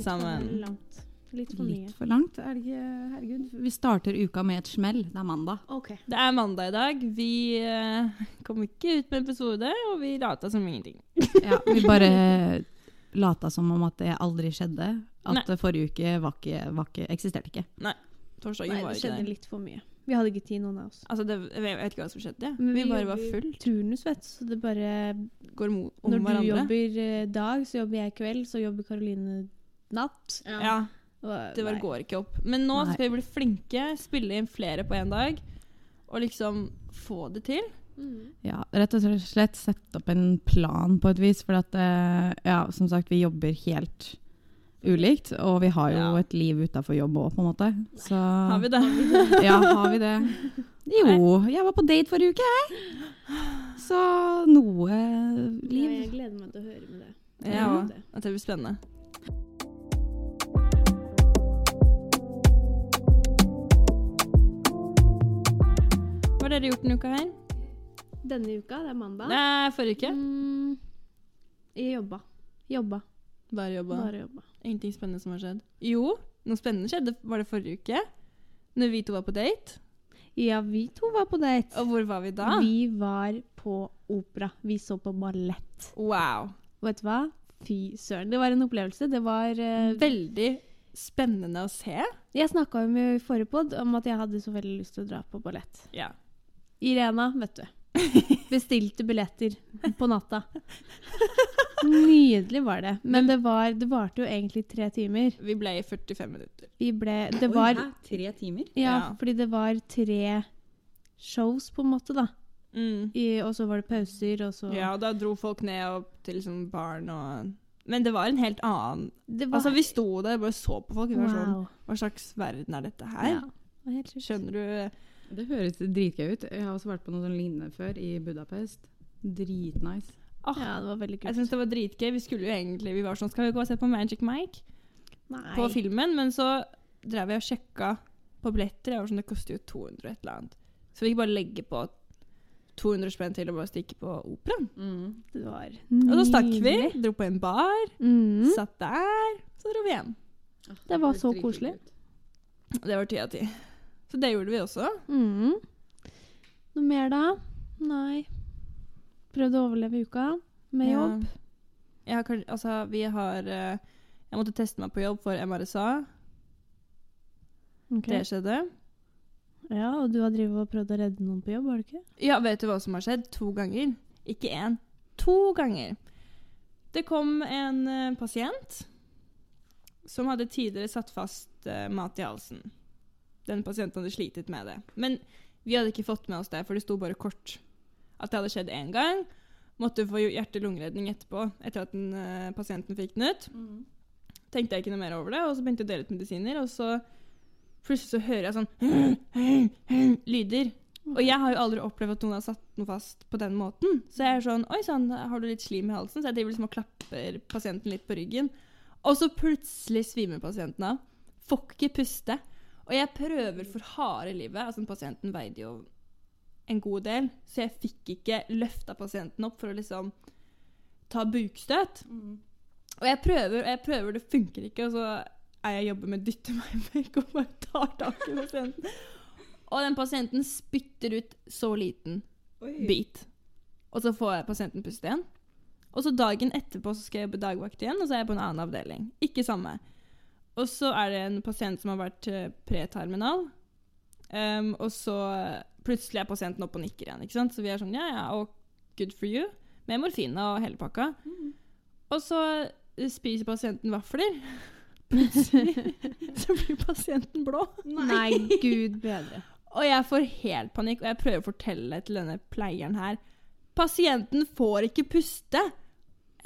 sammen. Langt. Litt for mye. Litt for langt. Er det ikke, herregud. Vi starter uka med et smell. Det er mandag. OK. Det er mandag i dag. Vi eh, kom ikke ut med episode, og vi lata som ingenting. Ja, vi bare lata som om at det aldri skjedde. At Nei. forrige uke var ikke, var ikke, eksisterte ikke. Torsdagen Nei, var det ikke skjedde der. litt for mye. Vi hadde ikke tid, noen av oss. Altså, det, jeg vet ikke hva som skjedde. Men vi vi bare var jobber- full. Turnus, vet du, så det bare Går mo- om Når du hverandre. jobber eh, dag, så jobber jeg kveld, så jobber Karoline natt. Ja, Og- det bare nei. går ikke opp. Men nå Nei. skal vi bli flinke, spille inn flere på én dag, og liksom få det til. Mm. Ja, rett og slett sette opp en plan på et vis. For at, eh, ja, som sagt, vi jobber helt ulikt. Og vi har jo Ja. et liv utafor jobb òg, på en måte. Så Har vi det? Ja, har vi det? Jo, jeg var på date forrige uke, jeg. Så noe Nei, liv. Jeg gleder meg til å høre med det. Ja, Ja. og at det blir spennende. Hva har dere gjort denne uka her? Denne uka, det er mandag. Nei, forrige uke. Mm, jeg jobba. Jobba. Bare jobba. Bare jobba. Ingenting spennende som har skjedd. Jo, noe spennende skjedde var det forrige uke. Når vi to var på date. Ja, vi to var på date. Og hvor var vi da? Vi var på opera. Vi så på ballett. Wow. Og vet du hva? Fy søren. Det var en opplevelse. Det var eh, Veldig spennende å se. Jeg snakka jo med i forrige pod om at jeg hadde så veldig lyst til å dra på ballett. Ja. Irena, vet du. Bestilte billetter på natta. Nydelig var det. Men det, var, det varte jo egentlig tre timer. Vi ble i 45 minutter. Vi ble Det var tre timer? Ja, Ja. fordi det var tre shows, på en måte, da. Mm. I, og så var det pauser, og så Ja, og da dro folk ned opp til liksom barn og Men det var en helt annen Det var Altså, vi sto der og bare så på folk. Vi var sånn Wow. Hva slags verden er dette her? Ja, det var helt sjukt. Skjønner du? Det høres dritgøy ut. Jeg har også vært på noe sånn lignende før, i Budapest. Dritnice. Ah, Ja, det var veldig Jeg kult. syns det var dritgøy. Vi skulle jo egentlig Vi var sånn Skal vi gå og se på Magic Mike? Nei. På filmen. Men så drev jeg og sjekka på billetter. Jeg var sånn Det koster jo 200 og et eller annet. Så vi gikk bare legge på 200 spenn til og bare stikke på operaen. Mm. Det var Og så stakk vi. nydelig. Dro på en bar. Mm. Satt der. Så dro vi hjem. Det var så koselig. Det var ti av ti. Så det gjorde vi også. Mm. Noe mer, da? Nei. Prøvde å overleve uka med Ja. jobb. Jeg har, kanskje- altså, vi har eh, Jeg måtte teste meg på jobb for MRSA. Ok. Det skjedde. Ja, Og du har drivet og prøvd å redde noen på jobb, har du ikke? Ja, vet du hva som har skjedd? To ganger. Ikke én. To ganger. Det kom en eh, pasient som hadde tidligere satt fast eh, mat i halsen. Den pasienten hadde slitet med det. Men vi hadde ikke fått med oss det, for det sto bare kort at det hadde skjedd én gang. Måtte få hjerte-lungeredning etterpå, etter at den, eh, pasienten fikk den ut. Mm. Tenkte jeg ikke noe mer over det, og så begynte jeg å dele ut medisiner, og så plutselig så hører jeg sånn lyder. Og jeg har jo aldri opplevd at noen har satt noe fast på den måten. Så jeg er sånn Oi sann, har du litt slim i halsen? Så jeg driver liksom og klapper pasienten litt på ryggen. Og så plutselig svimer pasienten av. Får ikke puste. Og jeg prøver for harde livet. Altså, den pasienten veide jo en god del, så jeg fikk ikke løfta pasienten opp for å liksom ta bukstøt. Og jeg prøver, og jeg prøver, det funker ikke. Og så er jeg jobber med dyttemeimerk og bare tar tak i pasienten. Og den pasienten spytter ut så liten bit. Og så får jeg pasienten puste igjen. Og så dagen etterpå så skal jeg jobbe dagvakt igjen, og så er jeg på en annen avdeling. Ikke samme. Og så er det en pasient som har vært eh, preterminal. Um, og så plutselig er pasienten oppe og nikker igjen. ikke sant? Så vi er sånn ja, ja, og good for you. Med morfin og hele pakka. Og så eh, spiser pasienten vafler. Plutselig så blir pasienten blå. Nei, gud bedre. Og jeg får helt panikk, og jeg prøver å fortelle til denne pleieren her Pasienten får ikke puste!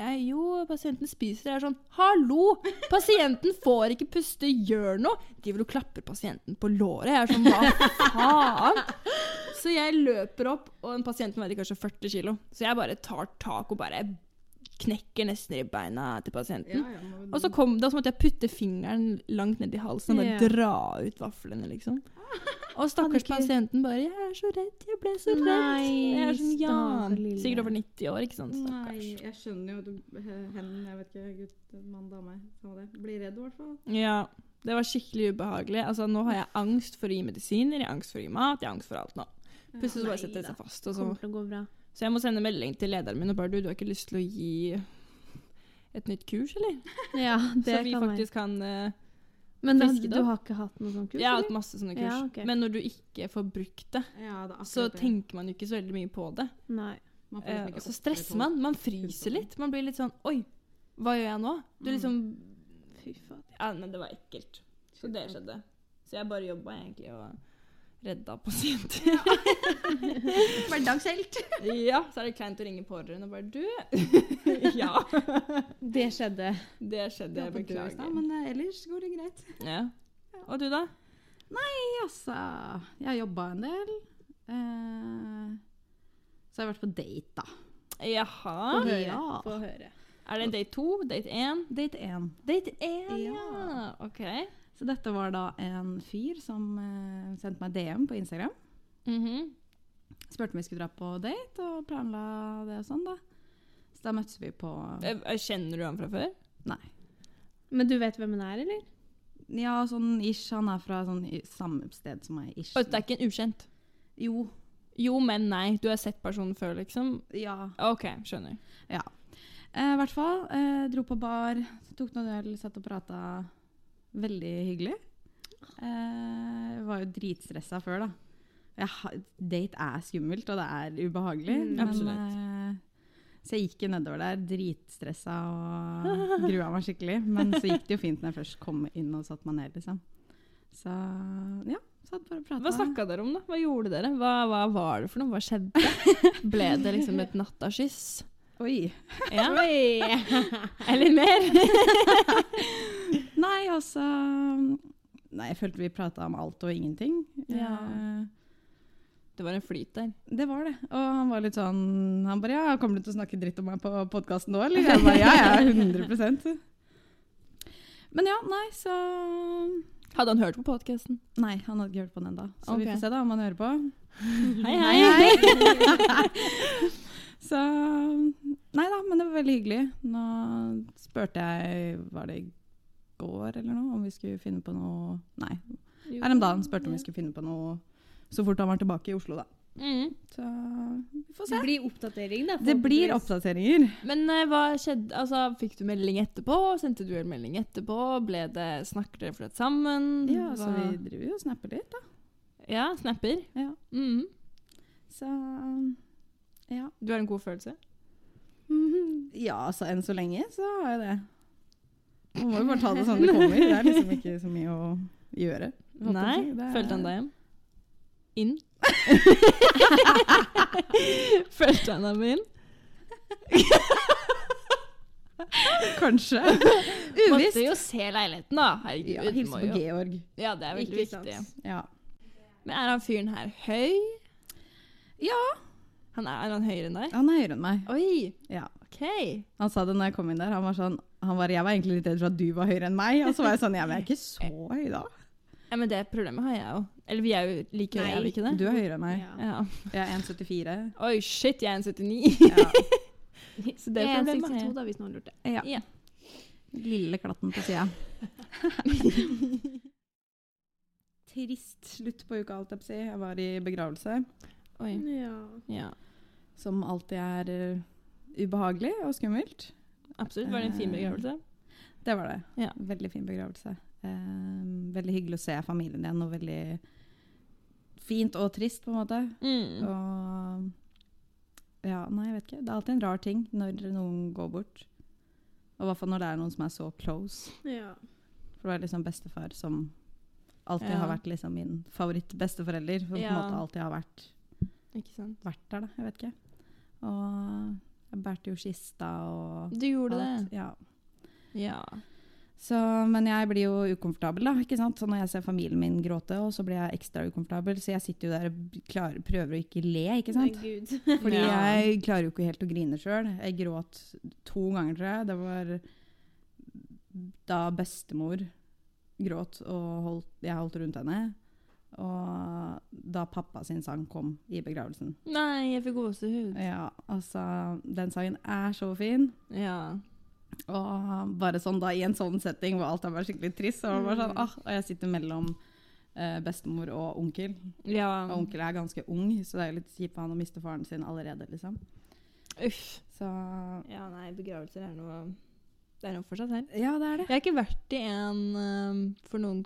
Jeg, jo, pasienten spiser. Jeg er sånn Hallo! Pasienten får ikke puste! Gjør noe! Driver og klapper pasienten på låret. Jeg er sånn Hva faen? Så jeg løper opp, og en pasient veide kanskje 40 kilo. Så jeg bare tar tak og bare knekker nesten i beina til pasienten. Og så kom det, og så måtte jeg putte fingeren langt ned i halsen og bare Ja. dra ut vaflene, liksom. Og stakkars ikke- pasienten bare 'Jeg er så redd, jeg ble så redd'. Nei, jeg er sånn, ja. stakkars lille. Sikkert over 90 år, ikke sant? Stakkars. Nei, jeg skjønner jo du- hen, jeg vet ikke, gutt, mann, dame, samme det. Blir redd i hvert fall. Ja. Det var skikkelig ubehagelig. Altså, nå har jeg angst for å gi medisiner, jeg har angst for å gi mat, jeg har angst for alt nå. Plutselig så bare Nei setter det da. seg fast. Og så, Kommer til å gå bra. så jeg må sende melding til lederen min og bare 'Du, du har ikke lyst til å gi et nytt kurs, eller?' Ja, det så vi kan være. faktisk kan eh, Men da, friske det du opp. har ikke hatt noe sånt kurs? Jeg har eller? hatt masse sånne kurs. Ja, ok. Men når du ikke får brukt det, Ja, det er akkurat så det. tenker man jo ikke så veldig mye på det. Nei. Man får Eh, liksom ikke og så opprettholdt- stresser man. Man fryser litt. Man blir litt sånn Oi, hva gjør jeg nå? Du Mm. liksom Fy fader. Ja, men det var ekkelt. Så det skjedde. Så jeg bare jobba egentlig og redda pasienter. Hverdagshelt. ja, så er det kleint å ringe pårørende og bare Du! ja. Det skjedde. Det skjedde. Jeg beklager. Men eh, ellers går det greit. Ja. Og du, da? altså, jeg har jobba en del. Eh, så har jeg vært på date, da. Jaha. Ja. Få høre. Er det date to? Date én? Date én. Date én, Ja. ja. OK. Så dette var da en fyr som eh, sendte meg DM på Instagram. Mhm. Spurte om vi skulle dra på date, og planla det og sånn, da. Så da møttes vi på Eh, Kjenner du han fra før? Nei. Men du vet hvem hun er, eller? Ja, sånn ish. Han er fra sånn i- samme sted som meg, ish. Og det er ikke en ukjent? Jo. Jo, men nei. Du har sett personen før, liksom? Ja. OK, skjønner. Eh, I hvert fall. Eh, dro på bar, tok noen øl, satt og prata. Veldig hyggelig. Eh, var jo dritstressa før, da. Jeg, ha- date er skummelt, og det er ubehagelig. Mm, absolutt. eh, så jeg gikk jo nedover der dritstressa og grua meg skikkelig. Men så gikk det jo fint når jeg først kom inn og satte meg ned, liksom. Så ja, satt bare og prata. Hva snakka dere om, da? Hva gjorde dere? Hva, hva var det for noe? Hva skjedde? Ble det liksom et nattaskyss? Oi. Ja. Eller mer? Nei, altså Nei, jeg følte vi prata om alt og ingenting. Ja. Eh, Det var en flyt der. Det var det. Og han var litt sånn Han bare Ja, kommer du til å snakke dritt om meg på podkasten nå, eller? Jeg bare Ja, ja, 100 Men ja, nei, så Hadde han hørt på podkasten? Nei, han hadde ikke hørt på den ennå. Så vi Ok. får se da om han hører på. Hei, Hei, hei! Så Nei da, men det var veldig hyggelig. Nå spurte jeg Var det i går eller noe? Om vi skulle finne på noe Nei, her om dagen spurte om vi skulle finne på noe så fort han var tilbake i Oslo, da. Mm. Så vi får se. Det blir oppdatering, da. Det blir folkens. oppdateringer. Men eh, hva skjedde? Altså, fikk du melding etterpå? Sendte du en melding etterpå? Ble det, Snakker dere fløt sammen? Ja, Mm-hmm. så Hva- vi driver jo og snapper litt, da. ja, snapper? Ja. Mhm. Så ja. Du har en god følelse? ja, altså enn så lenge så har jeg det. Man må jo bare ta det sånn det kommer. Det er liksom ikke så mye å gjøre. holdt jeg på å Nei? si. Det er- Følte han deg hjem? Inn? Følte han deg med inn? Kanskje. Måtte Uvisst. jo se leiligheten, da. Herregud. Ja, må Hilse på jo- Georg. Ja, det er veldig Ikke sant. viktig. Ja. Men er han fyren her høy? ja, Han er, er han høyere enn deg? han er høyere enn meg. Oi, Ja. ok. Han sa det når jeg kom inn der. Han var sånn han var, Jeg var egentlig litt redd for at du var høyere enn meg. Og så var jeg sånn Ja, men jeg er ikke så høy, da. Ja, men det problemet har jeg jo. Eller vi er jo like høye, Nei. er vi ikke det? Du er høyere enn meg. Ja. Ja. Jeg er 1,74. Oi, shit, jeg er en 79. Ja. Så det jeg er problemet har 62, jeg. da, hvis noen lurte. Ja. Ja. Lille klatten på sida. Trist slutt på uka, alt jeg på å si. Jeg var i begravelse, Oi. Ja. Ja, som alltid er eh, ubehagelig og skummelt. absolutt. Var det en fin begravelse? Det var det. Ja. Veldig fin begravelse. Eh, veldig hyggelig å se familien igjen, og veldig fint og trist, på en måte. Mm. Og Ja, nei, jeg vet ikke. Det er alltid en rar ting når noen går bort. Og i hvert fall når det er noen som er så close. ja. For det var liksom bestefar som alltid Ja. har vært liksom min favoritt-besteforelder. Som på Ja. en måte alltid har vært, Ikke sant. vært der, da. Jeg vet ikke. Og jeg bærte jo kista og Du gjorde alt. det. Ja. Ja. Så, men jeg blir jo ukomfortabel, da. ikke sant? Så når jeg ser familien min gråte, og så blir jeg ekstra ukomfortabel. Så jeg sitter jo der og b- klarer, prøver å ikke le, ikke sant? Nei, Gud. Fordi Ja. jeg klarer jo ikke helt å grine sjøl. Jeg gråt to ganger, tror jeg. Det var da bestemor gråt, og holdt, jeg holdt rundt henne. Og da pappa sin sang kom i begravelsen. Nei, jeg fikk gåsehud. Ja, altså, Den sangen er så fin. Ja. Og bare sånn da, i en sånn setting hvor alt er bare skikkelig trist. Og, bare sånn, ah, og jeg sitter mellom eh, bestemor og onkel. Og ja. onkel er ganske ung, så det er jo litt kjipt for han å miste faren sin allerede. liksom. Uff. Så Ja, nei, begravelser er noe Det er noe for seg selv. ja, det er det. Jeg har ikke vært i en øhm, for noen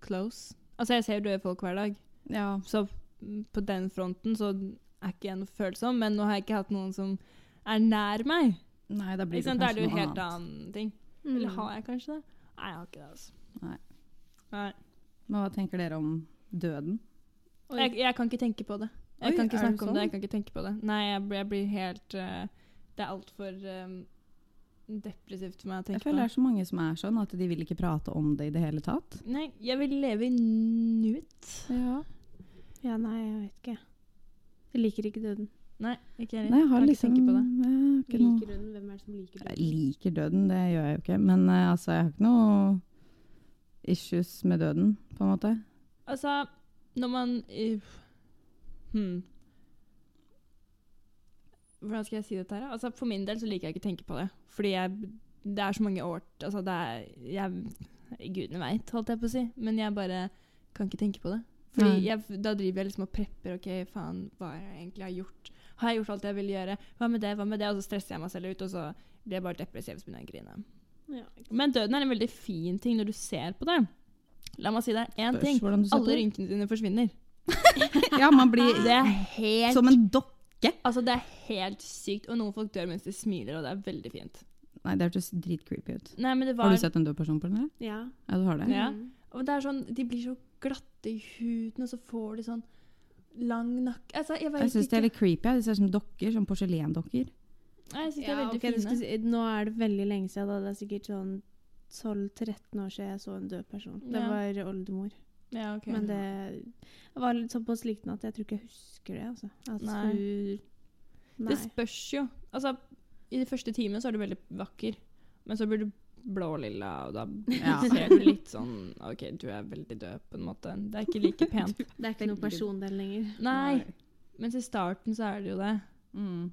close. Altså, jeg ser døde folk hver dag, Ja, så mm, på den fronten så er ikke jeg noe følsom, men nå har jeg ikke hatt noen som er nær meg. Nei, da blir Ikke det sant? Da er det kanskje jo noe en helt annet. Mm. annen ting. Eller har jeg kanskje det? Nei, jeg har ikke det, altså. Nei. Nei. Men hva tenker dere om døden? Oi. Jeg, jeg kan ikke tenke på det. Jeg Oi, kan ikke er du snakke om det. sånn? Jeg kan ikke tenke på det. Nei, jeg, blir- jeg blir helt eh, Det er altfor um, depressivt for meg å Jeg tenke på. føler det er så mange som er sånn at de vil ikke prate om det i det hele tatt. Nei, jeg vil leve i nuet. Ja. Ja, nei, jeg vet ikke. Jeg liker ikke døden. Nei, ikke jeg Nei, jeg har Kan ikke liksom tenke på det. Jeg, har ikke noe. Liker du den? Hvem er det som liker jeg døden? liker døden, det gjør jeg jo ikke. Men eh, altså, jeg har ikke noe issues med døden, på en måte. Altså, når man i- hmm. Hvordan skal jeg si dette her? da? Altså, for min del så liker jeg ikke å tenke på det. Fordi jeg, det er så mange år altså, det er, jeg, Gudene veit, holdt jeg på å si. Men jeg bare kan ikke tenke på det. Fordi Nei. jeg, Da driver jeg liksom og prepper. OK, faen, hva er det jeg egentlig har gjort? Har jeg gjort alt jeg ville gjøre? Hva med det? Hva med det? Og så stresser jeg meg selv ut, og så blir jeg bare depressiv og så begynner jeg å grine. Ja, ikke sant. Men døden er en veldig fin ting når du ser på det. La meg si det. Én ting. hvordan du ser på Alle det. rynkene dine forsvinner. Ja, man blir Det er helt som en dokk. Altså, det er helt sykt. Og noen folk dør mens de smiler, og det er veldig fint. Nei, det hørtes dritcreepy ut. Nei, men det var Har du sett en død person på den? eller? ja. Ja, du har det? Ja. Mm. Og det er sånn, De blir så glatte i huden, og så får de sånn lang nakke Altså, jeg vet Jeg syns ikke. det er litt creepy. jeg. De ser ut som dokker, som porselendokker. Nei, jeg synes det Ja, er veldig ok, det fine. skulle si- nå er det veldig lenge siden. Da. Det er sikkert sånn 12-13 år siden jeg så en død person. Det Ja. var oldemor. Ja, ok. Men det var litt sånn på slikten at jeg tror ikke jeg husker det. Altså. At Nei. hun Nei. Det spørs jo. Altså, I de første timene så er du veldig vakker, men så blir du blå-lilla, og da Ja. ser du litt sånn OK, du er veldig død, på en måte. Det er ikke like pent. Det er ikke noe Veldig- persondel lenger. Nei, mens i starten så er det jo det. Mm.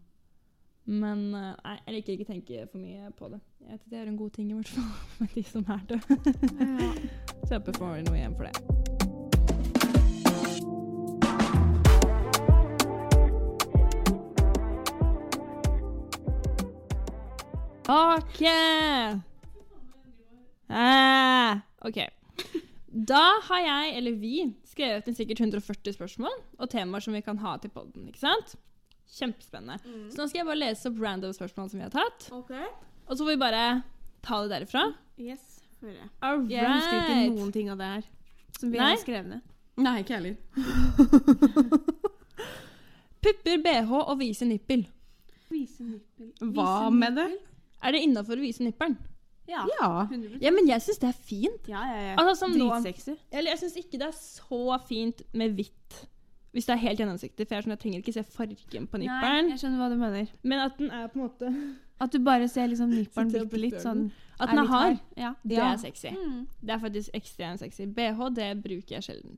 Men eh, nei, jeg liker ikke å tenke for mye på det. Jeg vet at det er en god ting i hvert fall med de som er døde. Så jeg håper jeg får noe igjen for det. OK! Eh, OK. Da har jeg, eller vi, skrevet inn sikkert 140 spørsmål og temaer som vi kan ha til podden, ikke sant? Kjempespennende. Så nå skal jeg bare lese opp random spørsmål som vi har tatt, Ok. og så får vi bare ta det derifra. Yes, hører jeg. All Jeg husker ikke right. noen ting av det her. Som vi Nei. har skrevet ned. Nei, ikke jeg heller. Pupper, bh og vise nippel. Vise nippel. Hva med det? Er det innafor å vise nippelen? Ja. Ja. 100 Ja, men jeg syns det er fint. ja, ja, ja. Altså, som nå, Dritsexy. eller jeg syns ikke det er så fint med hvitt. Hvis det er helt gjennomsiktig, for jeg, er sånn, jeg trenger ikke se fargen på nippelen. jeg skjønner hva du mener. Men at den er på en måte At du bare ser liksom nipperen Sitter og bitte litt putter sånn. At den er litt hard, Ja. Mm. det ja. er sexy. Det er faktisk ekstremt sexy. Bh, det bruker jeg sjelden.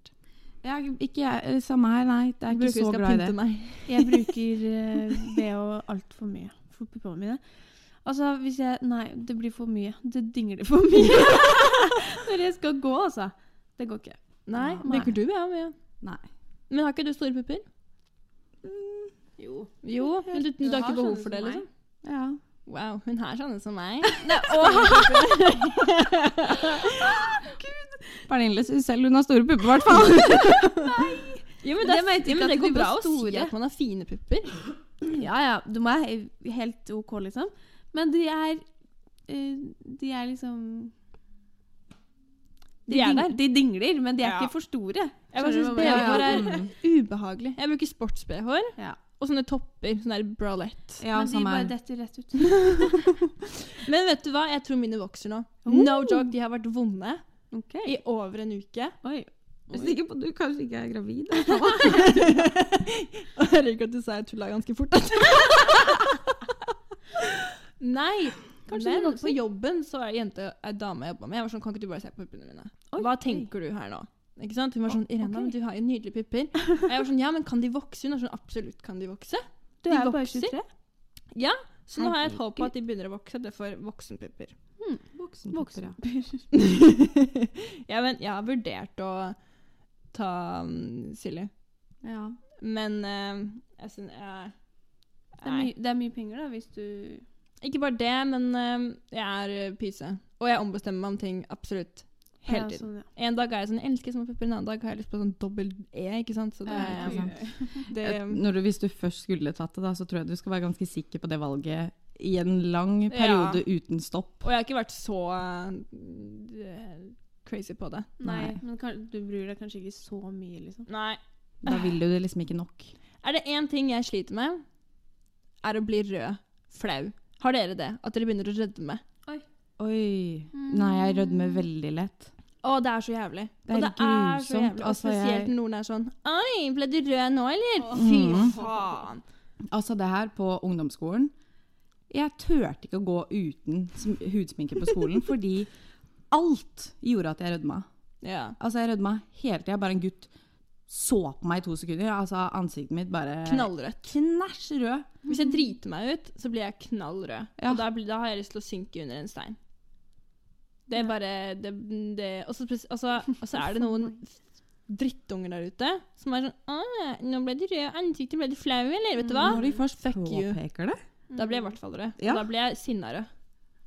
Ja, ikke jeg. Eh, Samme her, nei. Det er ikke Bruker så skal glad i pynte det. meg. Jeg bruker eh, BH altfor mye for puppene mine. Altså, hvis jeg Nei, det blir for mye. Det dingler for mye når jeg skal gå, altså. Det går ikke. Nei, Nei. bruker du bh mye? Nei. Men har ikke du store pupper? Mm, Jo. Jo, men du, du, har ikke behov for det, liksom? Ja. Wow, hun her er sånn som meg. Pernille syns selv hun har store pupper, i hvert fall. Jo, men det, Jeg mente jo, ikke men at det de går var bra å si store. at man har fine pupper. Ja ja, de er he- helt OK, liksom. Men de er eh, De er liksom De er ding- der. De dingler, men de er Ja. ikke for store. Jeg bare Skjønner syns du hva jeg BH-er er Mm. ubehagelig. Jeg bruker sports-BH-er Ja. og sånne topper. Sånn der bralette. Ja, men de samme bare her. detter rett ut. Men vet du hva? Jeg tror mine vokser nå. Oh. No joke, de har vært vonde i over en uke. Oi. Jeg er sikker på at du kanskje ikke er gravid. Og jeg liker at du sa jeg tulla ganske fort. Nei. Kanskje de men vokser. på jobben så er det jente, ei dame jeg jobba med. Jeg var sånn, kan ikke du bare se på puppene mine? Oi. Hva tenker du her nå? Ikke sant? Hun var sånn 'Irena, ok. du har jo nydelige pupper'. Og jeg var sånn 'Ja, men kan de vokse?' Hun var sånn 'Absolutt kan de vokse'. Du De er jo bare vokser. 23. Så nå har jeg et håp på at de begynner å vokse. Det får voksenpupper. Hmm. Voksenpupper, ja. ja, men jeg har vurdert å ta um, Silje. Ja. Men eh, jeg syns jeg Det er, Nei. mye- det er mye penger, da, hvis du Ikke bare det, men eh, jeg er eh, pyse. Og jeg ombestemmer meg om ting absolutt hele Ja, tiden. sånn, ja. En dag er jeg sånn jeg elsker små pupper, en annen dag har jeg lyst på sånn dobbel E. ikke sant? Så det, Ja, ikke sant. sånn, det, Eh, Når du, hvis du først skulle tatt det, da, så tror jeg du skal være ganske sikker på det valget i en lang periode uten stopp. Og jeg har ikke vært så eh, crazy på det. Nei, Nei. men kan, du bryr deg kanskje ikke så mye, liksom. Nei. Da vil du det liksom ikke nok. Er det én ting jeg sliter med, er å bli rød. Flau. Har dere det? At dere begynner å rødme? Oi. Nei, jeg rødmer veldig lett. Å, det er så jævlig. Det er og det er så grusomt. jævlig. Og Altså, jeg- spesielt når noen er sånn Oi, ble du rød nå, eller? Mm. Fy faen. Altså, det her på ungdomsskolen Jeg turte ikke å gå uten sm- hudsminke på skolen, fordi alt gjorde at jeg rødma. Ja. Altså, jeg rødma hele tida. Bare en gutt så på meg i to sekunder. Altså, ansiktet mitt bare Knallrødt. Knæsj rød. Hvis jeg driter meg ut, så blir jeg knallrød. Ja. Og da, blir, da har jeg lyst til å synke under en stein. Det er bare det, det, og, så, pres- og, så, og så er det noen drittunger der ute som er sånn «Åh, 'Nå ble du rød i ansiktet. Ble du flau, eller?' Vet du hva? Når de først Fuck you. påpeker det. Da Mm. blir jeg i hvert fall rød. Mm. Ja. Og da blir jeg sinnarød.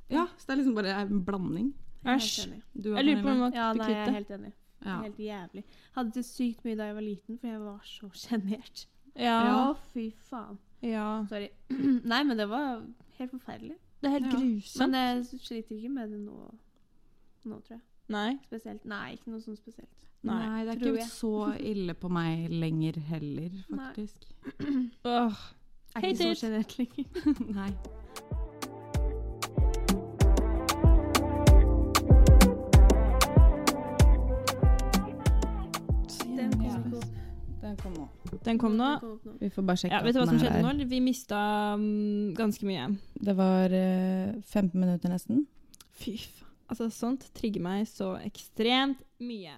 Ja, så det er liksom bare en blanding. Jeg er helt Æsj. enig. Du Jeg lurer på om Ja, du nei, jeg er kutter. helt enig. Det ja. er Helt jævlig. Hadde det sykt mye da jeg var liten, for jeg var så sjenert. Ja. Å, fy faen. ja. Sorry. Nei, men det var helt forferdelig. Det er helt Ja. grusomt. Men jeg sliter ikke med det nå, nå tror jeg. Nei. Spesielt. Nei, ikke noe sånn spesielt. Nei. Nei, det er tror ikke jeg. så ille på meg lenger heller, Nei. faktisk. Åh. Jeg Hei, er ikke Tate. så sjenert lenger. Nei. Den kom ikke opp. Den kom nå. Den kom nå. Den kom opp nå. Vi får bare sjekke Ja, vet du at hva den som er skjedde nå? der. eller? Vi mista mm, ganske mye. Det var eh, 15 minutter nesten. Fy faen. Altså, sånt trigger meg så ekstremt mye.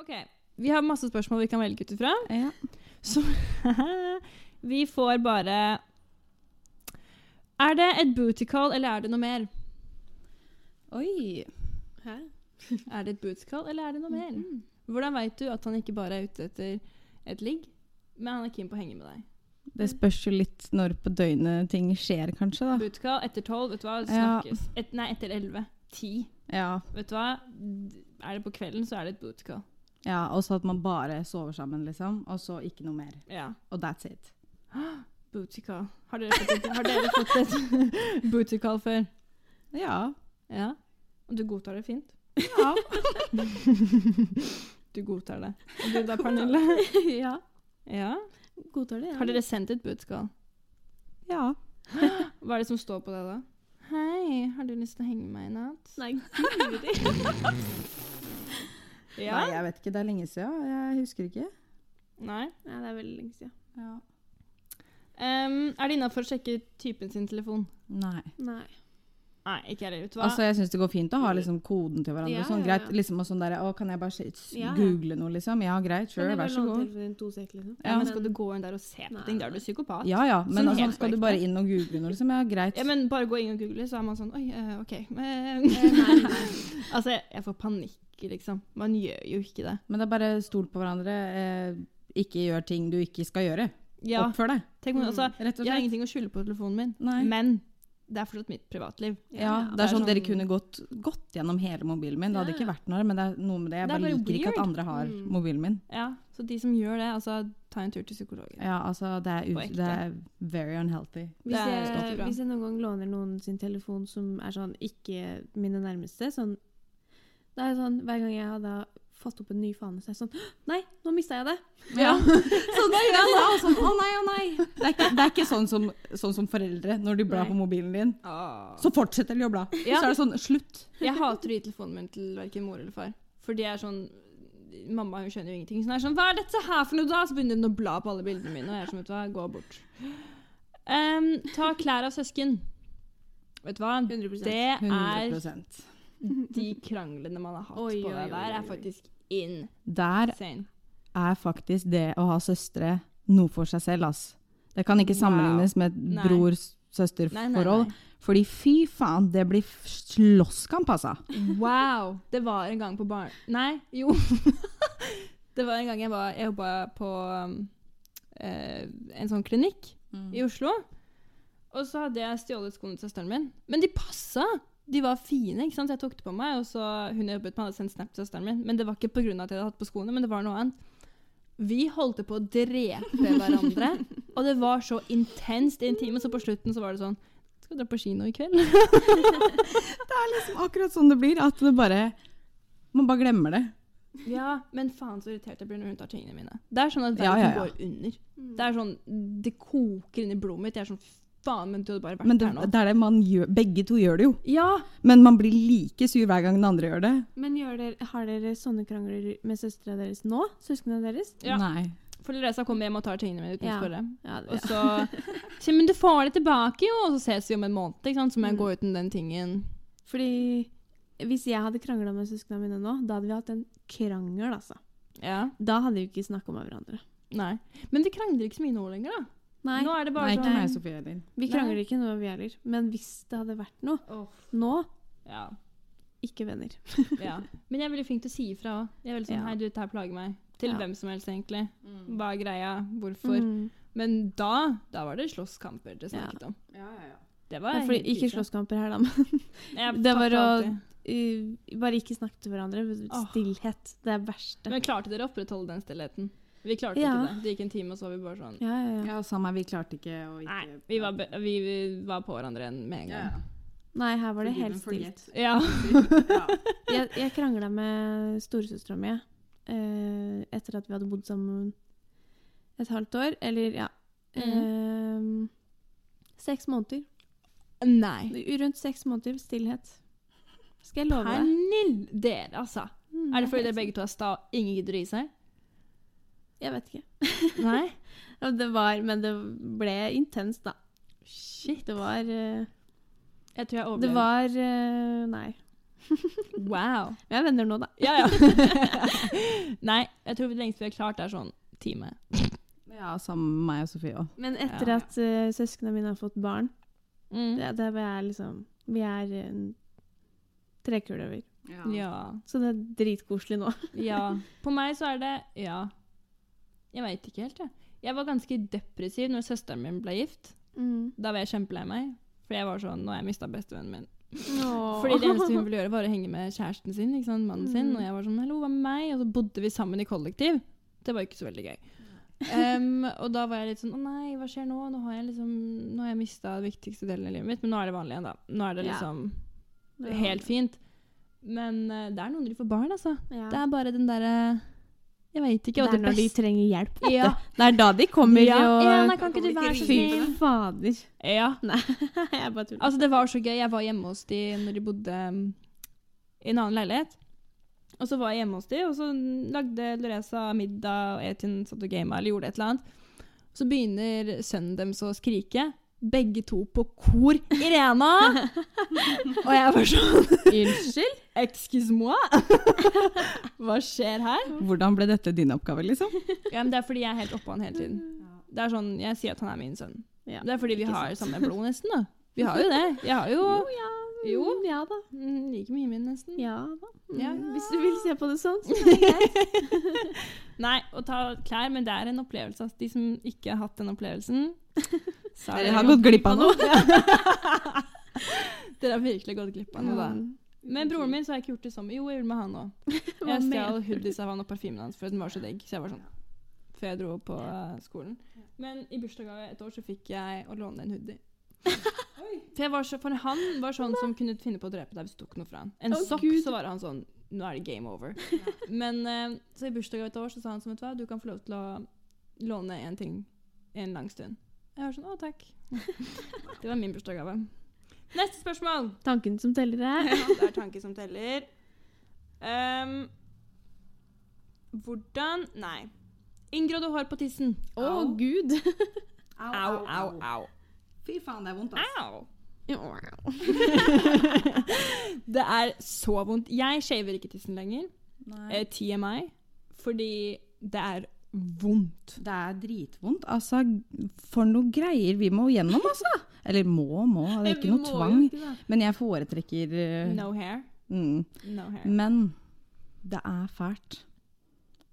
OK. Vi har masse spørsmål vi kan velge ut ifra. Ja. Så vi får bare Er det et booty call, eller er det noe mer? Oi. Hæ? Er det et booty call, eller er det noe mer? Mm-hmm. Hvordan veit du at han ikke bare er ute etter et ligg, men han er keen på å henge med deg? Det spørs jo litt når på døgnet ting skjer, kanskje. da. Booty call etter tolv, vet du hva, Ja. snakkes. Et, nei, etter elleve. Ti. Ja, Vet du hva, D- er det på kvelden, så er det et booty call. ja Og så at man bare sover sammen, liksom. Og så ikke noe mer. Ja. Og that's it. Booty call. Har dere fått et, har dere fått et booty call før? Ja. Ja. Og du godtar det fint? Ja. Du godtar det. Og du da, Pernille? ja. Ja. Godtar det, ja. Har dere sendt et booty call? ja. Hva er det som står på det, da? Hei, har du lyst til å henge med meg i natt? Nei, guri. Ja? Nei, jeg vet ikke. Det er lenge siden. Jeg husker ikke. Nei. Nei, det er veldig lenge siden. Ehm, er det innafor å sjekke typen sin telefon? Nei. Nei. Nei, ikke heller. Vet du hva? Altså, jeg syns det går fint å ha liksom, koden til hverandre. Ja, og sånn, ja, ja. greit, liksom, og sånn der, å, Kan jeg bare se- s- Ja, ja. google noe, liksom? Ja, greit. Kan Sure, jeg vær bare så låne god. telefonen din to sek, liksom? ja, Ja. men skal du gå inn der og se på Nei, ting? Da er nei. du psykopat. Ja, ja. Men Sånn altså, helt skal du korrekt, bare det. inn og google noe, liksom? Ja, greit. Ja, men bare gå inn og google, så er man sånn Oi, eh, OK. Men, altså, jeg, jeg får panikk, liksom. Man gjør jo ikke det. Men det er bare stol på hverandre. Eh, ikke gjør ting du ikke skal gjøre. Ja, Oppfør deg, tenk om, altså, rett og Jeg har slett. ingenting å skjule på telefonen min, Nei. men det er fortsatt mitt privatliv. Ja, det det er er sånn Dere sånn- kunne gått, gått gjennom hele mobilen min. Det hadde Ja, ikke ja. vært noe, men det er noe med det. Jeg Det er bare, bare liker ikke at weird. andre har Mm. mobilen min. Ja, Så de som gjør det, altså, ta en tur til psykologen. Ja, altså, det er, På ut, ekte. det er very unhealthy. Det Hvis er jeg, stolt bra. hvis jeg noen gang låner noen sin telefon som er sånn ikke mine nærmeste sånn, Det er sånn hver gang jeg har da fått opp en ny fane, så er jeg sånn «Hå! Nei, nå mista jeg det! Ja. sånn er det, da. og Sånn, å nei, å nei. Det er ikke, det er ikke sånn, som, sånn som foreldre, når de blar Nei. på mobilen din. Ah. Så fortsetter de å bla. Ja. Så er det sånn slutt. Jeg hater å gi telefonen min til verken mor eller far. For de er sånn Mamma hun skjønner jo ingenting. Så hun er sånn 'Hva er dette her for noe, da?' Så begynner hun å bla på alle bildene mine, og jeg er sånn, vet du hva, gå bort. Em, ta klær av søsken. Vet du hva? 100 Det er 100 de kranglene man har hatt Oi, på det oi, oi, der, oi, er oi. faktisk insane. Der er faktisk det å ha søstre noe for seg selv, ass. Det kan ikke sammenlignes med et Nei. Nei, nei, bror-søster-forhold. nei. Fordi fy faen, det blir f- slåsskamp, altså. Wow! Det var en gang på barn... Nei, jo. det var en gang jeg var Jeg jobba på um, eh, en sånn klinikk i Oslo. Og så hadde jeg stjålet skoene til søsteren min. Men de passa! De var fine, ikke sant? så jeg tok det på meg. Og så hun jeg jobbet med, hadde sendt snap til søsteren min. Men det var ikke pga. at jeg hadde hatt på skoene, men det var noe annet. Vi holdt på å drepe hverandre. og det var så intenst i en time, så på slutten så var det sånn Skal du dra på kino i kveld? Liksom akkurat sånn det blir, at det bare Man bare glemmer det. Ja, men faen så irritert jeg blir når hun tar tingene mine. Det er sånn at Ja, verden ja, ja. går under. Mm. Det er sånn, det koker inn i blodet mitt. Jeg er sånn, faen, men du hadde bare vært Men det, her nå. det er det man gjør. Begge to gjør det jo. Ja! Men man blir like sur hver gang den andre gjør det. Men gjør dere, har dere sånne krangler med søstrene deres nå? Søsknene deres? Ja. Nei. For Leresa kommer hjem og tar tingene mine uten å Ja. spørre. Ja, det, Og så sier hun, men du får det tilbake jo, og så ses vi om en måned, ikke sant? Så må jeg Mm. gå uten den tingen. Fordi hvis jeg hadde krangla med søsknene mine nå, da hadde vi hatt en krangel, altså. Ja, Da hadde vi ikke snakka med hverandre. nei. Men vi krangler ikke så mye nå lenger da. Nei, Nå er det bare Nei, ikke sånn... meg, Sofie heller. vi krangler ikke nå, vi heller. Men hvis det hadde vært noe Åh, nå, Ja, ikke venner. ja. Men jeg er veldig flink til å si ifra også. Jeg er veldig sånn, Ja. hei du, dette her plager meg. Til Ja. hvem som helst egentlig. mm. Hva er greia? Hvorfor? Mm. Men da, da var det slåsskamper det snakket om. Ja, ja, ja. Det Ja, var fordi, helt ikke krise. slåsskamper her, da, men Jeg Det var tapte å- alltid. uh, bare ikke snakke til hverandre. Åh. Stillhet. Det er verste. Men klarte dere å opprettholde den stillheten? Vi klarte Ja. ikke det. Det gikk en time, og så var vi bare sånn Ja, ja, ja. Ja, samme her. Vi klarte ikke å ikke Nei, vi var, be- vi, vi var på hverandre en- med en ja, gang. ja. Nei, her var det Forgive helt and forget. stilt. Ja. Jeg, jeg krangla med storesøstera mi eh, etter at vi hadde bodd sammen et halvt år. Eller, ja Mhm. eh, Seks måneder. Nei. Rundt seks måneder stillhet. Skal jeg love deg. Pernille, dere, altså. Mm, Er det fordi dere helt begge to er sta og ingen gidder å gi seg? sant. Jeg vet ikke. Nei? Ja, Det var, men det ble intenst, da. Shit. Det var eh, Jeg tror jeg Det overlevde. var eh, Nei. Wow. Vi er venner nå, da. Ja, ja. Nei, jeg tror det lengste vi har klart, er sånn time. Ja, sammen med meg og Sofie òg. Men etter Ja. at eh, søsknene mine har fått barn, Mm. det, det var jeg liksom Vi er uh, trekuler over. Ja. Så det er dritkoselig nå. Ja. På meg så er det ja. Jeg veit ikke helt, jeg. Jeg var ganske depressiv når søsteren min ble gift. Da var jeg kjempelei meg. For jeg var sånn, nå har jeg mista bestevennen min. Fordi det eneste hun ville gjøre, var å henge med kjæresten sin, ikke sant? mannen sin. Mm. Og jeg var sånn, hallo, hva med meg? Og så bodde vi sammen i kollektiv. Det var ikke så veldig gøy. Em, og da var jeg litt sånn å nei, hva skjer nå? Nå har jeg liksom, nå har jeg mista det viktigste delen av livet mitt. Men nå er det vanlig igjen, da. Nå er det Ja. liksom helt fint. Men eh, det er noen når de får barn, altså. Ja. Det er bare den derre Jeg veit ikke. Det og er når de beste- trenger hjelp. ja. Det er da de kommer ja. og ja, nei, kan ikke du Kommer være de så Fy snill? fader. Ja. jeg bare tuller. Altså, det var så gøy. Jeg var hjemme hos de når de bodde um, i en annen leilighet. Og så var jeg hjemme hos de, og så lagde Loreza middag, og Etin satt og gama eller gjorde et eller annet. Så begynner sønnen deres å skrike. Begge to på kor. 'Irena!' og jeg var sånn Unnskyld? Excuse moi? Hva skjer her? Hvordan ble dette din oppgave, liksom? Ja, men det er fordi jeg er helt oppå han hele tiden. Det er sånn, Jeg sier at han er min sønn. Ja, Det er fordi vi ikke har samme blod, nesten. da. Vi har jo det. Jeg har jo, Jo, ja. Jo. ja da. mm, like mye min, nesten. Ja da. Mm. Ja. Hvis du vil se på det sånn, så Nei, å ta klær, men det er en opplevelse. ass. de som ikke har hatt den opplevelsen så er Dere det har jo- gått glipp av noe. Dere har virkelig gått glipp av noe, da. Mm. Men broren min så har jeg ikke gjort det samme. Jo, jeg gjorde det med han òg. Jeg Hva mener stjal du? hoodies av han og parfymen hans, for den var så digg. Så jeg var sånn Før jeg dro på eh, skolen. Men i bursdagsgave et år så fikk jeg å låne en hoodie. For, jeg var så, for han var sånn som kunne finne på å drepe deg hvis du tok noe fra han. En Å, sokk, Gud. så var han sånn Nå er det game over. Men eh, så i bursdagsgave et år så sa han som vet du hva, du kan få lov til å låne en ting en lang stund. Jeg var sånn Å, takk. Det var min bursdagsgave. Neste spørsmål. Tanken som teller er Det er tanke som teller. Ehm, hvordan Nei. Inngrodde hår på tissen. Å, gud! Au, au, au. Fy faen, det er vondt, Au! Ja. Det er så vondt. Jeg shaver ikke tissen lenger. Nei. eh, TMI, fordi det er vondt. Det er dritvondt. Altså, for noe greier vi må gjennom, altså! Eller må, må. Det er ikke noe tvang. Men jeg foretrekker eh, No hair. mm. No hair. Men det er fælt.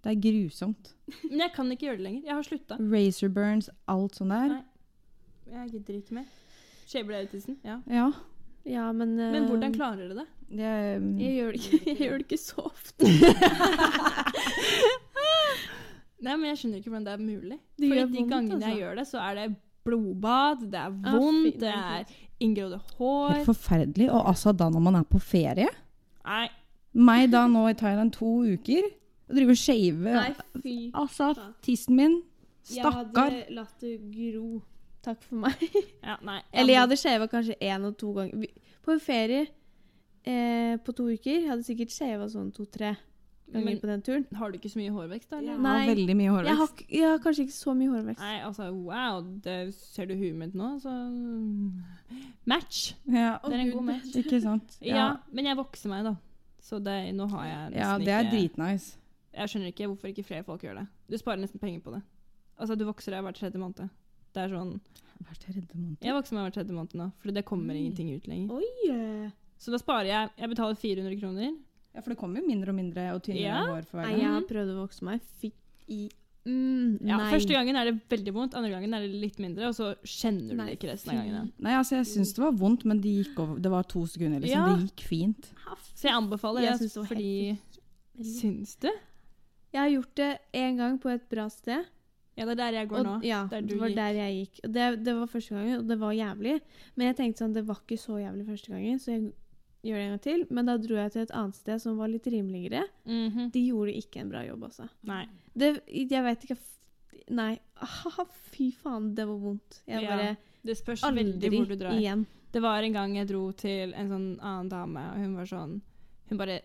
Det er grusomt. Men jeg kan ikke gjøre det lenger. Jeg har slutta. Razor burns, alt sånt der. Nei. Jeg gidder ikke mer. Eh. Shaver deg ut tissen? Ja. Ja. Ja, men eh, Men hvordan klarer dere det? Det, mm, jeg gjør, det ikke, jeg gjør det ikke så ofte. Nei, men Jeg skjønner ikke hvordan det er mulig. Det Fordi gjør de vondt, gangene altså. Ah, jeg gjør det, så er det blodbad, det er fy, vondt, det det er er inngrodde hår Helt forferdelig. Og altså da når man er på ferie Nei, Meg da nå i Thailand to uker og driver og shave Nei, fy. Altså, tissen min. Stakkar. Jeg hadde latt det gro. Takk for meg. ja, nei. Eller jeg hadde shava kanskje én og to ganger. Vi- På ferie eh, på to uker jeg hadde sikkert shava sånn to-tre ganger Men på den turen. har du ikke så mye hårvekst, da? Eller? Det var Nei. veldig mye Jeg har, hårvekst. ikke- jeg har kanskje ikke så mye hårvekst. Nei, altså wow, det ser du huet mitt nå, så Match! Ja. Det er en god match. Ikke sant? Ja, men jeg vokser meg, da. Så det, nå har jeg nesten Ja, det er ikke dritnice. Jeg skjønner ikke hvorfor ikke flere folk gjør det. Du sparer nesten penger på det. Altså, du vokser deg hver tredje måned. Det er sånn Hver tredje måned. Jeg vokser meg hver tredje måned nå, for det kommer ingenting ut lenger. Oi! eh. Så da sparer jeg Jeg betaler 400 kroner. Ja, for det kommer jo mindre og mindre og tynnere Ja. hår for hver Nei, gang. jeg har prøvd å vokse meg. Fikk i mm, Ja, Nei. første gangen er det veldig vondt, andre gangen er det litt mindre, og så kjenner du Nei, det ikke resten av gangene. Nei, altså jeg syns det var vondt, men det gikk over. Det var to sekunder, liksom. Ja. Det gikk fint. Så jeg anbefaler Jeg det, synes det var helt fordi Syns du? Jeg har gjort det én gang på et bra sted. Ja, det er der jeg går Og, nå. ja, Der du det var gikk. der jeg gikk. Og det, det var første gangen, og det var jævlig. Men jeg tenkte sånn, det var ikke så jævlig første gangen, så jeg gjør det en gang til. Men da dro jeg til et annet sted som var litt rimeligere. Mhm. De gjorde ikke en bra jobb, altså. Nei. Det, jeg vet ikke f- Nei. Ah, fy faen, det var vondt. Jeg Ja, bare Det spørs Aldri veldig hvor du drar. igjen. Det var en gang jeg dro til en sånn annen dame, og hun var sånn Hun bare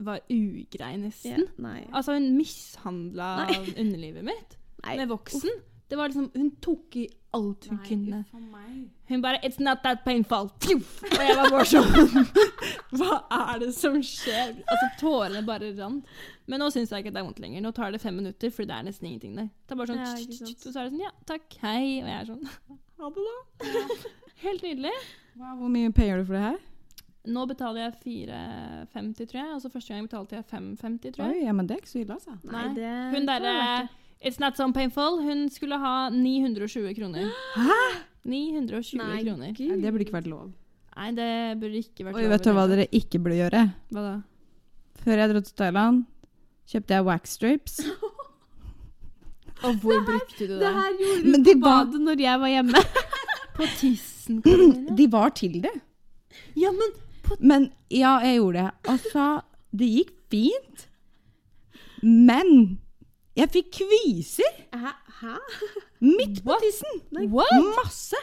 var ugrei, Ja, nesten. nei. Altså, hun mishandla underlivet mitt Nei. med voksen. Det var liksom, Hun tok i alt hun kunne. for meg. Hun bare 'It's not that painful'. Pju! Og jeg var bare sånn Hva er det som skjer? Altså, Tårene bare rant. Men nå syns jeg ikke det er vondt lenger. Nå tar det fem minutter, for det er nesten ingenting der. Det er bare sånn, Ja, tsk, ikke tsk, sant. tsk, Og så er det sånn 'Ja, takk. Hei.' Og jeg er sånn Ha det, da. Helt nydelig. Wow, hvor mye payer du for det her? Nå betaler jeg 4,50, tror jeg. Og så første gang betalte jeg 5,50, tror jeg. Oi, ja, men det er ikke så ille, altså. Nei, det Hun eh, det var verdt derre det. It's not so painful. Hun skulle ha 920 kroner. Hæ?! 920 Nei, kroner. Nei, det burde ikke vært lov. Nei, det burde ikke vært Oi, lov vet i du det hva hele dere ikke burde gjøre? tatt. Hva da? Før jeg dro til Thailand, kjøpte jeg wax strips. Og hvor brukte du det? Det her Men gjorde du de på var- badet når jeg var hjemme. På tissen, Karoline. De var til det. Ja, men Men ja, jeg gjorde det. Altså, det gikk fint. Men jeg fikk kviser Hæ? Hæ? midt på tissen. what?! Masse.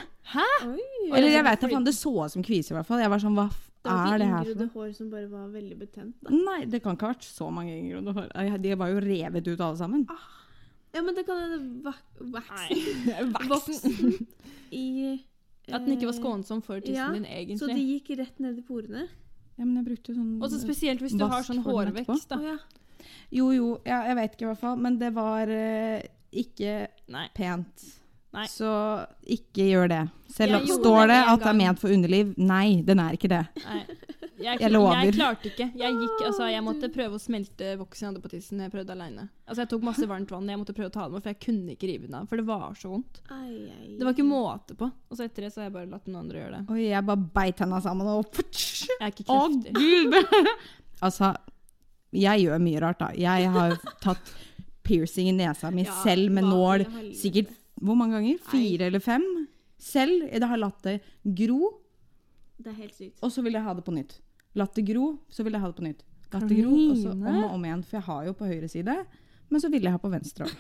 Oi. Eller jeg vet da faen, det så ut som kviser i hvert fall. Jeg var sånn, hva f- Det var er det ikke her for inngrodde noe? hår som bare var veldig betent. Da. Nei, det kan ikke ha vært så mange inngrodde hår. Nei, De var jo revet ut alle sammen. Ja, men det kan hende vak- Nei. waxen Voksen. i At den ikke var eh, skånsom for tissen Ja, din, Så det egentlig. gikk rett ned i porene? Ja, men jeg brukte jo sånn... Og så spesielt hvis du har Vask sånn for den etterpå. hårvekst, Å da. ja. Jo, jo, ja, jeg vet ikke i hvert fall, men det var eh, ikke Nei. pent. Nei. Så ikke gjør det. Selv Jeg om gjorde står det det en at det er gang. ment for underliv. Nei, den er ikke det. Nei. Jeg Jeg, kl- lover. Jeg klarte ikke. Jeg, gikk, altså, jeg måtte prøve å smelte voksen jeg hadde på tissen. Jeg prøvde alene. Altså, jeg tok masse varmt vann. Jeg måtte prøve å ta den bort, for jeg kunne ikke rive den av. For det var så vondt. Ai, ai. Det var ikke måte på. Og så etter det så har jeg bare latt noen andre gjøre det. Oi, jeg bare beit henne sammen og Jeg er ikke Å, krefter. gud! altså, jeg gjør mye rart, da. Jeg har tatt piercing i nesa mi Ja, selv med hva i nål helvete. sikkert hvor mange ganger? Fire eller fem? Selv. Jeg har latt det gro, Det er helt sykt. og så vil jeg ha det på nytt. Latt det gro, så vil jeg ha det på nytt. Latt det gro, og så om Karoline. og om igjen. For jeg har jo på høyre side, men så vil jeg ha på venstre òg.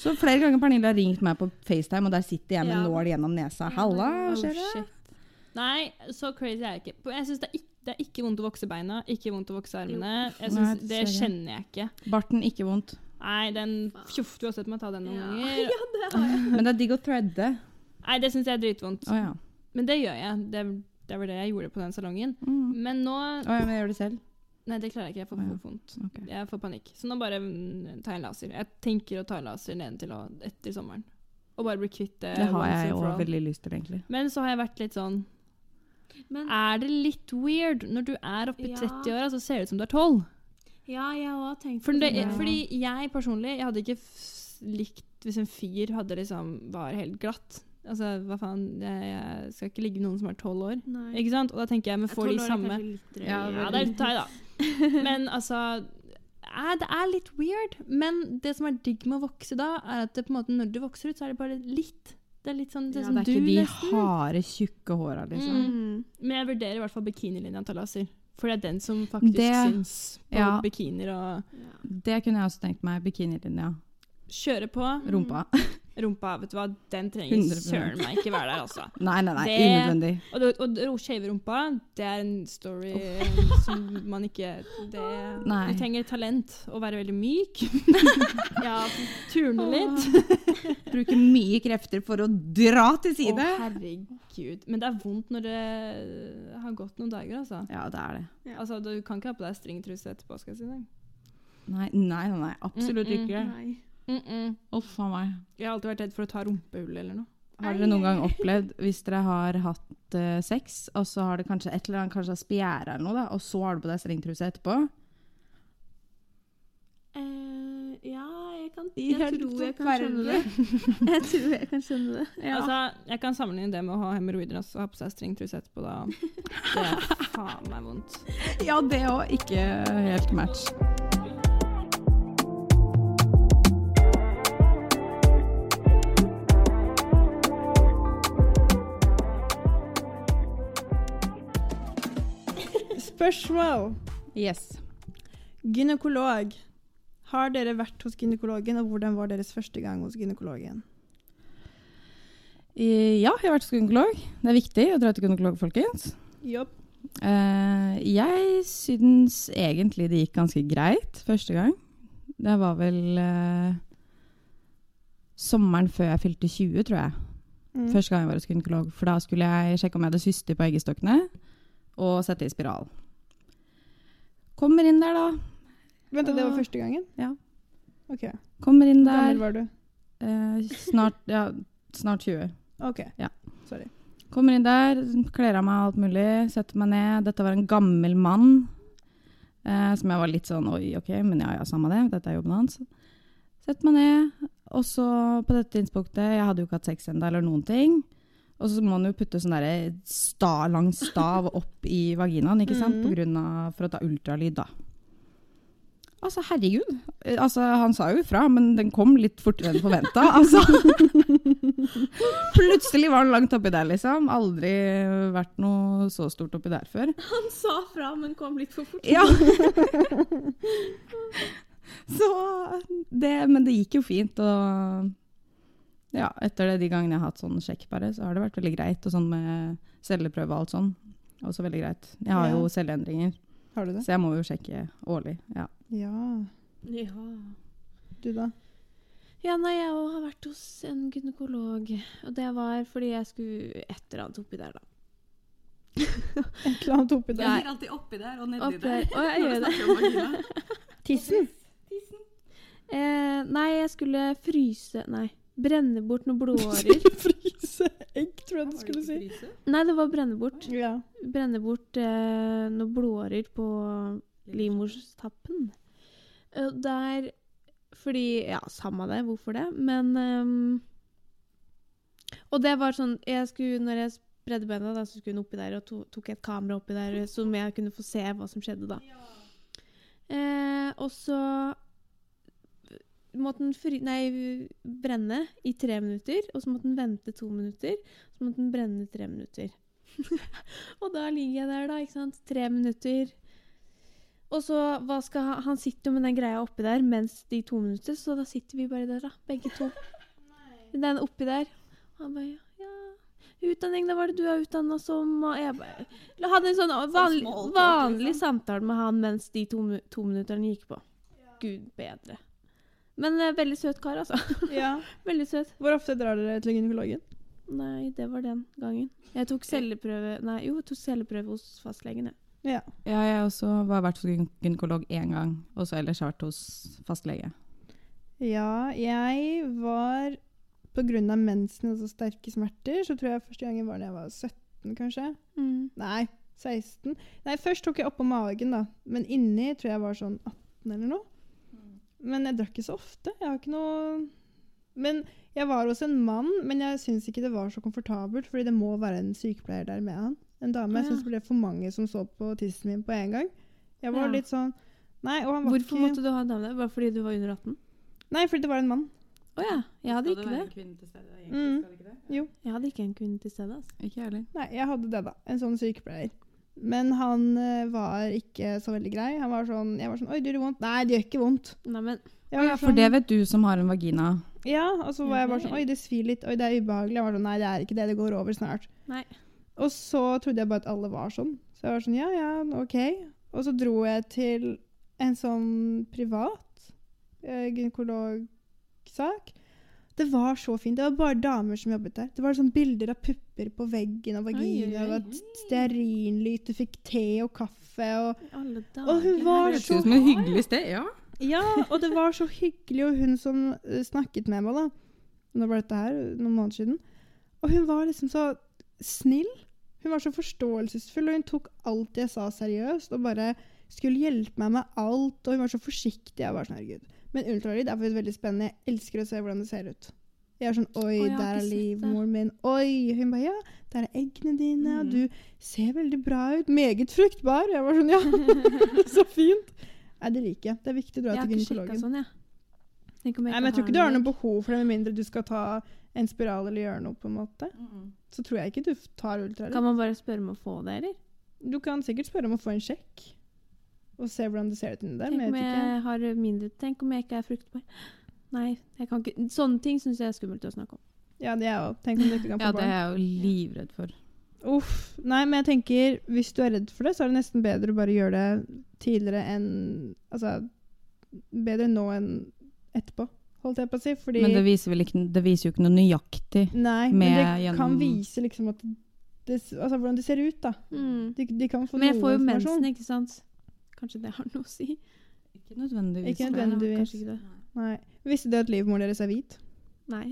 Så flere ganger Pernille har ringt meg på FaceTime, og der sitter jeg med Ja. nål gjennom nesa. Halla, Oh, skjer det? shit. Nei, så crazy er jeg ikke. Jeg synes det, er ikke, det er ikke vondt å vokse beina, ikke vondt å vokse armene. Jeg Nei, synes, det dessverre. kjenner jeg ikke. Barten ikke vondt. Nei, den fjoff, du har sett meg ta den noen Ja. ganger. Men det er digg å threade. Nei, det syns jeg er dritvondt. Å ja. Men det gjør jeg. Det, det var det jeg gjorde på den salongen. Mm. Men nå Å ja, men jeg gjør det selv. Nei, det klarer jeg ikke. Jeg får Å, ja. for vondt. Ok. Jeg får panikk. Så nå bare mm, tar jeg en laser. Jeg tenker å ta en laser nedentil og etter sommeren. Og bare bli kvitt det. Det har once jeg and for òg all. veldig lyst til, egentlig. Men så har jeg vært litt sånn Men Er det litt weird når du er oppe i Ja. 30-åra, så ser det ut som du er 12? ja, jeg har også tenkt For det, Ja. Fordi jeg personlig jeg hadde ikke f- likt hvis en fyr hadde liksom var helt glatt. Altså, hva faen, jeg, jeg skal ikke ligge med noen som er 12 år. Nei. Ikke sant? Og da tenker jeg, men får de samme Ja, Ja, det er deg, da. Men altså eh, Det er litt weird. Men det som er digg med å vokse da, er at det på en måte når du vokser ut, så er det bare litt. Det er litt sånn det Ja, som det er ikke du de nesten. harde, tjukke håra, liksom. Mm. Mm. Men jeg vurderer i hvert fall bikinilinja til laser. For det er den som faktisk Det- syns på ja. bikinier og Ja. Det kunne jeg også tenkt meg. Bikinilinja. Kjøre på. Rumpa. Mm. Rumpa, vet du hva, den trenger 100%. søren meg ikke være der, altså. Nei, nei, nei. Det- Unødvendig. Og, det- og, det- og skeive rumpa, det er en story som man ikke det, Nei. Du trenger talent og være veldig myk. Ja, Turne litt. Bruke mye krefter for å dra til side. Å, herregud. Men det er vondt når det har gått noen dager, altså. Ja, det er det. Altså, Du kan ikke ha på deg stringtruse etterpå, skal jeg si deg. Nei, nei, nei. nei. Absolutt Mm, mm. ikke. Nei. Uff a meg. Jeg har alltid vært redd for å ta rumpehull eller noe. Har dere noen gang opplevd, hvis dere har hatt eh, sex, og så har det kanskje et eller annet, kanskje har spjæra eller noe, da, og så har du på deg strengtruse etterpå? Eh, ja, jeg kan I Jeg helt tror jeg kan verden. skjønne det. Jeg tror jeg kan skjønne det. Altså, Jeg kan sammenligne det med å ha hemoroider og så ha på seg stringtruse etterpå. da. Det er faen meg vondt. Ja, det òg. Ikke helt match. Spørsmål. Yes. Gynekolog. Har dere vært hos gynekologen, og hvordan var deres første gang hos gynekologen? Eh, Ja, jeg har vært hos gynekolog. Det er viktig å dra til gynekolog, folkens. Jobb. Eh, jeg syns egentlig det gikk ganske greit første gang. Det var vel eh, sommeren før jeg fylte 20, tror jeg. Mm. Første gang jeg var hos gynekolog. For da skulle jeg sjekke om jeg hadde syster på eggestokkene, og sette i spiral. Kommer inn der, da. Vent, da, det var første gangen? Ja. Ok. Kommer inn Hvor der. gammel var du? Eh, snart, ja, snart 20. Ok. Ja. Sorry. Kommer inn der, kler av meg alt mulig, setter meg ned. Dette var en gammel mann. Eh, som jeg var litt sånn Oi, OK, men ja, ja, samme det. Dette er jobben hans. Setter meg ned. Og så, på dette tidspunktet, jeg hadde jo ikke hatt sex ennå eller noen ting. Og så må han jo putte sånn derre sta, lang stav opp i vaginaen, ikke sant? På grunn av, for å ta ultralyd, da. Altså, herregud. Eh, Altså, han sa jo ifra, men den kom litt fortere enn forventa. Altså. Plutselig var han langt oppi der, liksom. Aldri vært noe så stort oppi der før. Han sa fra, men kom litt for fort. Ja. så det Men det gikk jo fint, og ja, etter det, de gangene jeg har hatt sånn sjekk, bare, så har det vært veldig greit. Og sånn med celleprøve og alt sånn. Også veldig greit. Jeg har jo Ja. celleendringer, Har du det? så jeg må jo sjekke årlig. Ja. Ja. Ja. Du, da? Ja, nei, jeg òg har vært hos en gynekolog. Og det var fordi jeg skulle et eller annet oppi der, da. Et eller annet oppi der. alltid oppi der og Oppi der. Å, jeg gjør det. Tissen. Eh, nei, jeg skulle fryse Nei, brenne bort noen blodårer. Fryse egg, tror jeg du skulle si. nei, det var brenne bort. Ja. brenne bort eh, noen blodårer på livmorstappen. Eh, Der Fordi Ja, samme det, hvorfor det, men ehm, Og det var sånn jeg skulle, Når jeg spredde beina, da, så skulle hun oppi der, og to, tok et kamera oppi der, som jeg kunne få se hva som skjedde, da. Eh, og så måtte den fry... Nei, brenne i tre minutter, og så måtte den vente to minutter. Så måtte den brenne i tre minutter. Og da ligger jeg der, da, ikke sant. Tre minutter. Og så, hva skal han, han sitter jo med den greia oppi der mens de to minutter, så da sitter vi bare der, da. Begge to. Den oppi der. Og han bare ja, utdanning, da var det du er utdanna som, og jeg bare Jeg hadde en sånn vanlig, small talk, liksom. vanlig samtale med han mens de to, mu- to minutterne gikk på. Gud bedre. Men eh, veldig søt kar, altså. ja. Veldig søt. Hvor ofte drar dere til gynekologen? Nei, det var den gangen. Jeg tok celleprøve Nei, jo, jeg tok celleprøve hos fastlegen, jeg. Ja. Ja, jeg også var vært hos gyn- gynekolog én gang, og så ellers har jeg vært hos fastlege. Ja, jeg var På grunn av mensen og så sterke smerter, så tror jeg første gangen var da jeg var 17, kanskje. Mm. Nei, 16. Nei, først tok jeg oppå magen, da. Men inni tror jeg var sånn 18 eller noe. Mm. Men jeg drakk ikke så ofte. Jeg har ikke noe Men jeg var hos en mann, men jeg syns ikke det var så komfortabelt, fordi det må være en sykepleier der med han. En dame. Jeg Å, ja. syns det ble for mange som så på tissen min på en gang. Jeg var Ja. litt sånn Nei, og han var Hvorfor ikke måtte du ha dame der? Bare fordi du var under 18? Nei, fordi det var en mann. Å ja. Jeg hadde ikke det. Mm. Jeg hadde ikke en kunde til stede. Altså. Ikke jeg heller. Nei, jeg hadde det, da. En sånn sykepleier. Men han eh, var ikke så veldig grei. Han var sånn, jeg var sånn Oi, det gjør vondt. Nei, det gjør ikke vondt. Nei, men Jeg var For sånn- det vet du som har en vagina. Ja, og så var jeg bare Ja, sånn Oi, det svir litt. Oi, det er ubehagelig. Jeg var sånn, Nei, det er ikke det. Det går over snart. Nei. Og så trodde jeg bare at alle var sånn. Så jeg var sånn Ja, ja, OK. Og så dro jeg til en sånn privat eh, gynekologsak. Det var så fint. Det var bare damer som jobbet der. Det var sånn bilder av pupper på veggen og Oi, vagina. oi, Det var stearinlyd. Du fikk te og kaffe. og... i alle dager Og hun var Det så ser ut som et hyggelig sted. Ja. ja, og det var så hyggelig, og hun som eh, snakket med meg da, nå var dette her eh, noen måneder siden, og hun var liksom så snill, hun var så forståelsesfull, og hun tok alt jeg sa seriøst, og bare skulle hjelpe meg med alt, og hun var så forsiktig, jeg var sånn, herregud. Men ultralyd er faktisk veldig spennende, jeg elsker å se hvordan det ser ut. Jeg er sånn, oi, jeg har der ikke er sett det. livmoren min, oi, hun bare, ja, der er eggene dine, Mm. og du ser veldig bra ut, meget fruktbar, jeg var sånn, ja, så fint. Nei, det liker jeg. Det er viktig å dra Jeg har til ikke sjekka gynekologen. sånn, jeg. Tenk om Nei, men jeg tror ikke du har noe behov for det, med mindre du skal ta en spiral eller gjøre noe. på en måte. Så tror jeg ikke du tar ultralyd. Kan man bare spørre om å få det, eller? Du kan sikkert spørre om å få en sjekk og se hvordan det ser ut inni der. Tenk Men jeg om vet ikke. jeg har mindre Tenk om jeg ikke er fruktbar. Nei, jeg kan ikke Sånne ting syns jeg er skummelt å snakke om. Ja, det er jeg også. Tenk om du ikke kan ja, det få er barn. jeg jo livredd for. Uff. Nei, men jeg tenker, hvis du er redd for det, så er det nesten bedre å bare gjøre det tidligere enn Altså, bedre nå enn etterpå, holdt jeg på å si. Fordi Men det viser, vel ikke, det viser jo ikke noe nøyaktig. Nei, men med det kan gjennom- vise liksom at det, altså, hvordan det ser ut, da. Mm. De, de kan få Men jeg noe får jo informasjon. mensen, ikke sant? Kanskje det har noe å si? Ikke nødvendigvis. Ikke Nei, nødvendigvis. kanskje ikke det. Nei. Visste du at livmoren deres er hvit? Nei.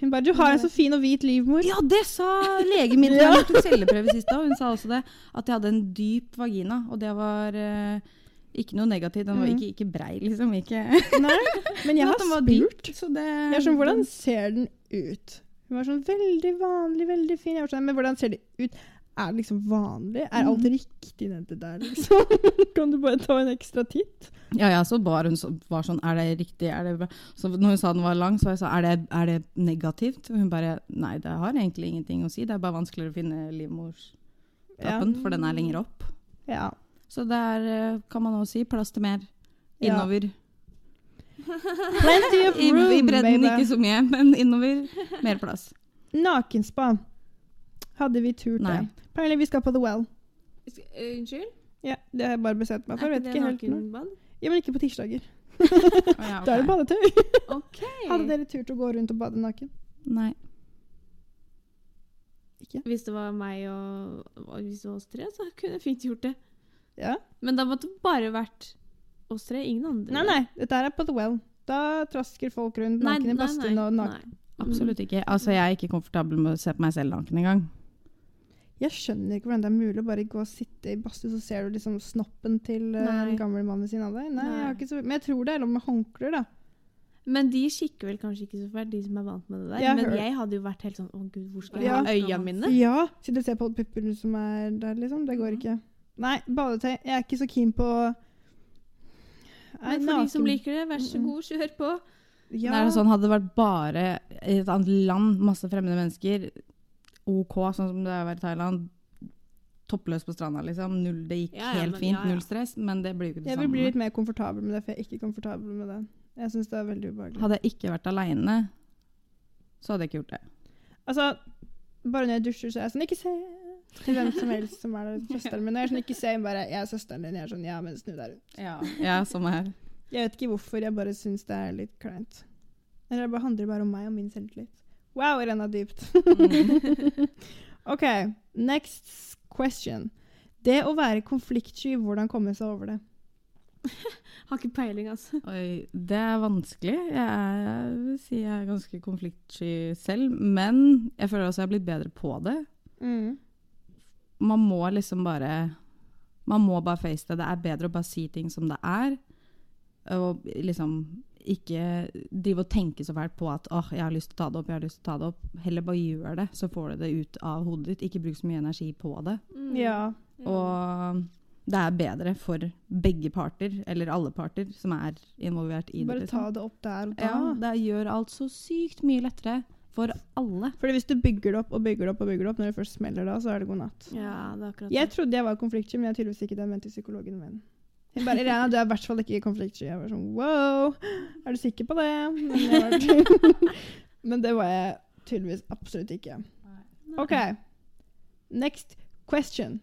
Hun bare 'Du har en så fin og hvit livmor'. Ja, det sa legen min da hun tok celleprøve sist òg. Hun sa også det. At jeg hadde en dyp vagina. Og det var eh, ikke noe negativt. Den var Mhm. ikke, ikke brei, liksom. Ikke. Nei, men jeg har At den var spurt. dyp, Så det, Jeg er sånn, hvordan ser den ut? Hun var sånn veldig vanlig, veldig fin. Jeg var sånn, men hvordan ser det ut? Er det liksom vanlig? Er Mm. alt riktig nedi der, liksom? kan du bare ta en ekstra titt? Ja, jeg så bare hun så, var sånn Er det riktig? Er det bra? Så når hun sa den var lang, så var jeg sånn er det, er det negativt? Og hun bare Nei, det har egentlig ingenting å si. Det er bare vanskeligere å finne livmorstappen, Ja. for den er lenger opp. ja. Så det er, eh, kan man også si, plass til mer. Ja. Innover. Plenty of I, room, I bredden baby. ikke så mye, men innover. Mer plass. Nakenspa. Hadde vi tur til. Nei. Apparently, vi skal på The Well. eh, Unnskyld? Ja, Det har jeg bare bestemt meg for. Er Vet ikke ikke det helt nå. nakenbad? Ja, men ikke på tirsdager. Å, ja, Da er ok. det badetøy. Ah, OK. Hadde dere tur til å gå rundt og bade naken? Nei. Hvis det var meg og og hvis det var oss tre, så kunne jeg fint gjort det. Ja. Men da måtte det bare vært oss tre, ingen andre. Nei, nei, dette her er på The Well. Da trasker folk rundt Nei, naken i nei, badstuen nei, og naken. nei. Absolutt ikke. Altså, jeg er ikke komfortabel med å se på meg selv naken engang. Jeg skjønner ikke hvordan det er mulig å bare gå og sitte i badstue, så ser du liksom snoppen til eh, Nei. den gamle mannen ved siden av deg. Nei, Jeg Nei. har ikke så... Men jeg tror det er lov med håndklær, da. Men de kikker vel kanskje ikke så fælt, de som er vant med det der. Jeg men hører- jeg hadde jo vært helt sånn Å, gud, hvor skal jeg Ja. ha øya mine? Ja, Sitte og se på pupper som er der, liksom. Det går ikke. Nei, badetøy. Jeg er ikke så keen på Nei, Men for de naken- som Mm. liker det, vær så god, kjør på. ja. Det er sånn, hadde det vært bare i et annet land, masse fremmede mennesker, OK, sånn som det er å være i Thailand, toppløs på stranda, liksom. Null, det gikk Ja, ja, helt men- fint, ja, ja. null stress, men det blir jo ikke det Jeg vil samme. bli litt mer komfortabel med det, for jeg er ikke komfortabel med det. Jeg syns det er veldig ubehagelig. Hadde jeg ikke vært aleine, så hadde jeg ikke gjort det. Altså, bare når jeg dusjer, så er jeg sånn Ikke se! Til hvem som helst som er der. Søsteren min. Og jeg er sånn, ikke se, bare Jeg er søsteren din. Jeg er sånn, ja, men snu deg rundt. Ja, samme her. Jeg vet ikke hvorfor, jeg bare syns det er litt kleint. Eller det bare handler bare om meg og min selvtillit. Wow, Mm. renna dypt. OK, next question. Det å være konfliktsky, hvordan komme seg over det. Har ikke peiling, altså. Oi, det er vanskelig. Jeg er- vil si jeg er ganske konfliktsky selv, men jeg føler også jeg har blitt bedre på det. Mm. Man må liksom bare Man må bare face det. Det er bedre å bare si ting som det er, og liksom ikke drive og tenke så fælt på at åh, jeg har lyst til å ta det opp, jeg har lyst til å ta det opp. Heller bare gjør det, så får du det ut av hodet ditt. Ikke bruk så mye energi på det. Mm. Ja. Og det er bedre for begge parter, eller alle parter, som er involvert i det. Bare liksom. ta det opp der og da. Ja, det gjør alt så sykt mye lettere for alle. Fordi hvis du bygger det opp og bygger det opp, og bygger det opp, når det først smeller da, så er det god natt. Ja, det er akkurat Jeg det. trodde jeg var konfliktsky, men jeg er tydeligvis ikke det, men til psykologen min. Hun bare, Irena, du er i hvert fall ikke konfliktsky. Jeg var sånn, wow, er du sikker på det? Men, jeg var- men det var jeg tydeligvis absolutt ikke. Ok, next question.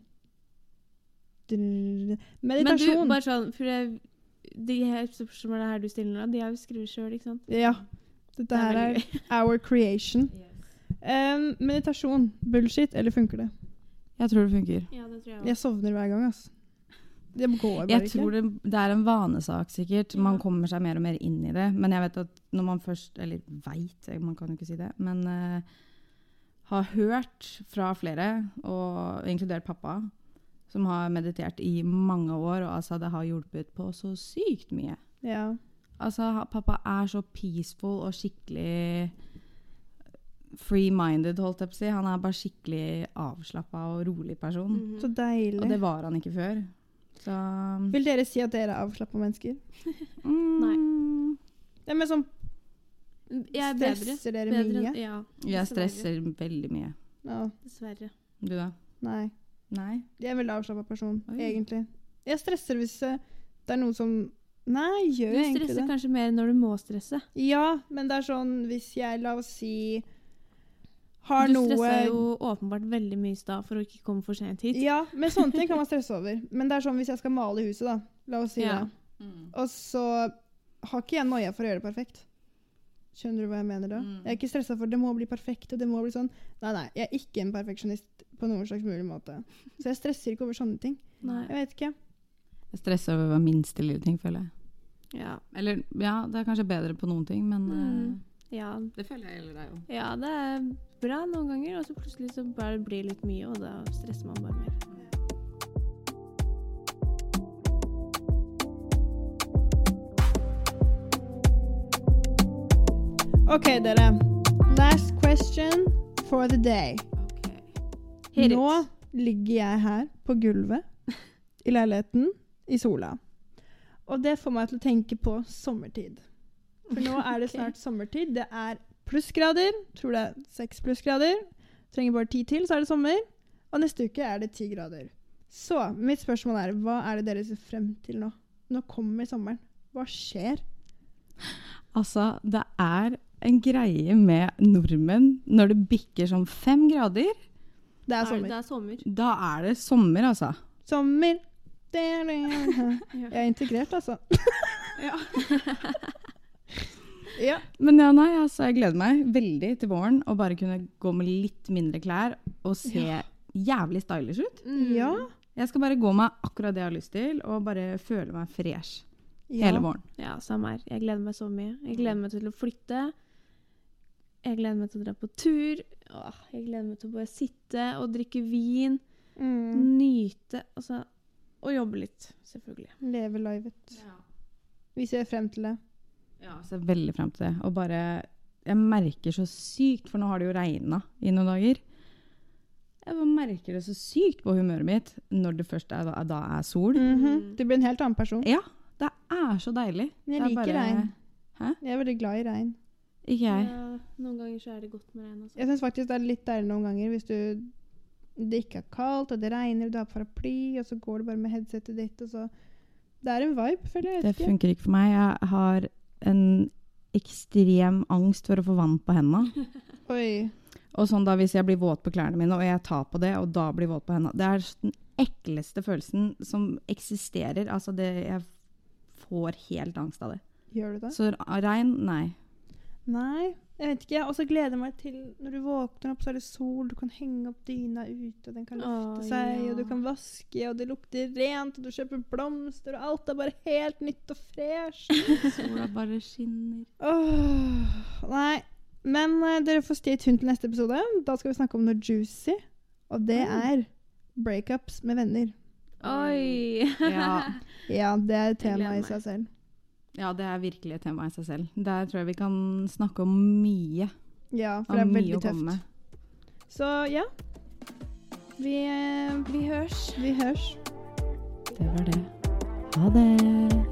Drrrr. Men du, Meditasjon. bare sånn, for det, de her spørsmålene her du stiller nå, de har vi skrevet sjøl, ikke sant? Ja, dette her er veldig our creation. Em, meditasjon, bullshit, eller funker det? Jeg tror det funker. gøy. Ja, det tror jeg Jeg sovner hver gang, ass. Det går bare Jeg ikke. tror det, det er en vanesak, sikkert. Ja. Man kommer seg mer og mer inn i det. Men jeg vet at når man først Eller veit, man kan jo ikke si det. Men eh, har hørt fra flere, og inkludert pappa, som har meditert i mange år, og altså det har hjulpet på så sykt mye. Ja. Altså, ha- pappa er så peaceful og skikkelig free-minded, holdt jeg på å si. Han er bare skikkelig avslappa og rolig person. Mm-hmm. Så Og det deilig. var han ikke før. Så Vil dere si at dere er avslappa mennesker? mm, Nei. Ja, men sånn, Jeg er Mm-hmm. bedre. stresser dere bedre mye? enn- Ja, Jeg stresser veldig mye. Ja, dessverre. Du da? nei. Nei? Jeg er en veldig avslappa person, Oi. egentlig. Jeg stresser hvis eh, det er noen som Nei, Du gjør jeg egentlig stresser det? kanskje mer når du må stresse. Ja, men det er sånn hvis jeg, la oss si, har du noe stressa jo åpenbart veldig mye i stad for å ikke komme for sent hit. Ja, men sånne ting kan man stresse over. Men det er sånn hvis jeg skal male i huset, da. La oss si Ja. det. Mm. Og så har ikke jeg noia for å gjøre det perfekt. Skjønner du hva jeg mener da? Mm. Jeg er ikke stressa for det må bli perfekt. og det må bli sånn. Nei, nei, jeg er ikke en perfeksjonist på noen slags mulig måte. Så jeg stresser ikke over sånne ting. Nei. Jeg vet ikke. Jeg stresser over hver minste lille ting, føler jeg. Ja. Eller ja, det er kanskje bedre på noen ting, men Mm. eh, Ja. Det føler jeg gjelder deg òg. ja, det er bra noen ganger, og så plutselig så bare blir det litt mye, og da stresser man bare mer. OK, dere. Last question for the day. Hit it. Nå ligger jeg her på gulvet i leiligheten i sola. Og det får meg til å tenke på sommertid. For nå er det Ok. snart sommertid. Det er plussgrader. Tror det er seks plussgrader. Trenger bare ti til, så er det sommer. Og neste uke er det ti grader. Så mitt spørsmål er hva er det dere ser frem til nå? Nå kommer sommeren. Hva skjer? Altså, det er en greie med nordmenn når det bikker sånn fem grader. Det er Er det- sommer. Det er sommer. Da er det sommer, altså. Sommer! Det er det. Jeg er integrert, altså. ja. Men ja, nei, altså, jeg gleder meg veldig til våren å bare kunne gå med litt mindre klær og se jævlig stylish ut. Mm. Ja. Jeg skal bare gå med akkurat det jeg har lyst til, og bare føle meg fresh ja. hele våren. Ja, samme her. Jeg gleder meg så mye. Jeg gleder meg til å flytte. Jeg gleder meg til å dra på tur. Åh, jeg gleder meg til å bare sitte og drikke vin. Mm. Nyte. Altså, og jobbe litt, selvfølgelig. Leve livet. Vi ser frem til det. Ja, ser veldig frem til det. Og bare Jeg merker så sykt, for nå har det jo regna i noen dager. Jeg bare merker det så sykt på humøret mitt når det først er, da er sol. Mhm. Du blir en helt annen person. Ja, det er så deilig. Men Mm. Det er jeg liker regn. Hæ? Jeg er veldig glad i regn. Ikke jeg. Ja, noen ganger så er det godt med regn. Altså. Jeg syns faktisk det er litt deilig noen ganger hvis du det ikke er kaldt, og det regner, og du har på paraply, og så går du bare med headsetet ditt, og så Det er en vibe, føler jeg. jeg Det vet ikke. funker ikke for meg. Jeg har en ekstrem angst for å få vann på hendene. Oi. Og sånn da hvis jeg blir våt på klærne mine, og jeg tar på det, og da blir våt på hendene. Det er den ekleste følelsen som eksisterer. Altså det Jeg får helt angst av det. Gjør du det? Så regn, nei. Nei. Jeg vet ikke, Og så gleder jeg meg til når du våkner opp, så er det sol, du kan henge opp dyna ute, og den kan lufte Å, seg, ja. og du kan vaske, og det lukter rent, og du kjøper blomster, og alt er bare helt nytt og fresh. Sola bare skinner. Åh, nei. Men eh, dere får stay tuned til neste episode. Da skal vi snakke om noe juicy, og det Mm. er breakups med venner. Oi! Ja. Ja, det er tema gleder i meg. seg selv. ja, det er virkelig et tema i seg selv. Der tror jeg vi kan snakke om mye. Ja, for Om det er mye veldig å komme tøft. med. Så ja. Vi, eh, Vi hørs. vi hørs. Det var det. Ha det.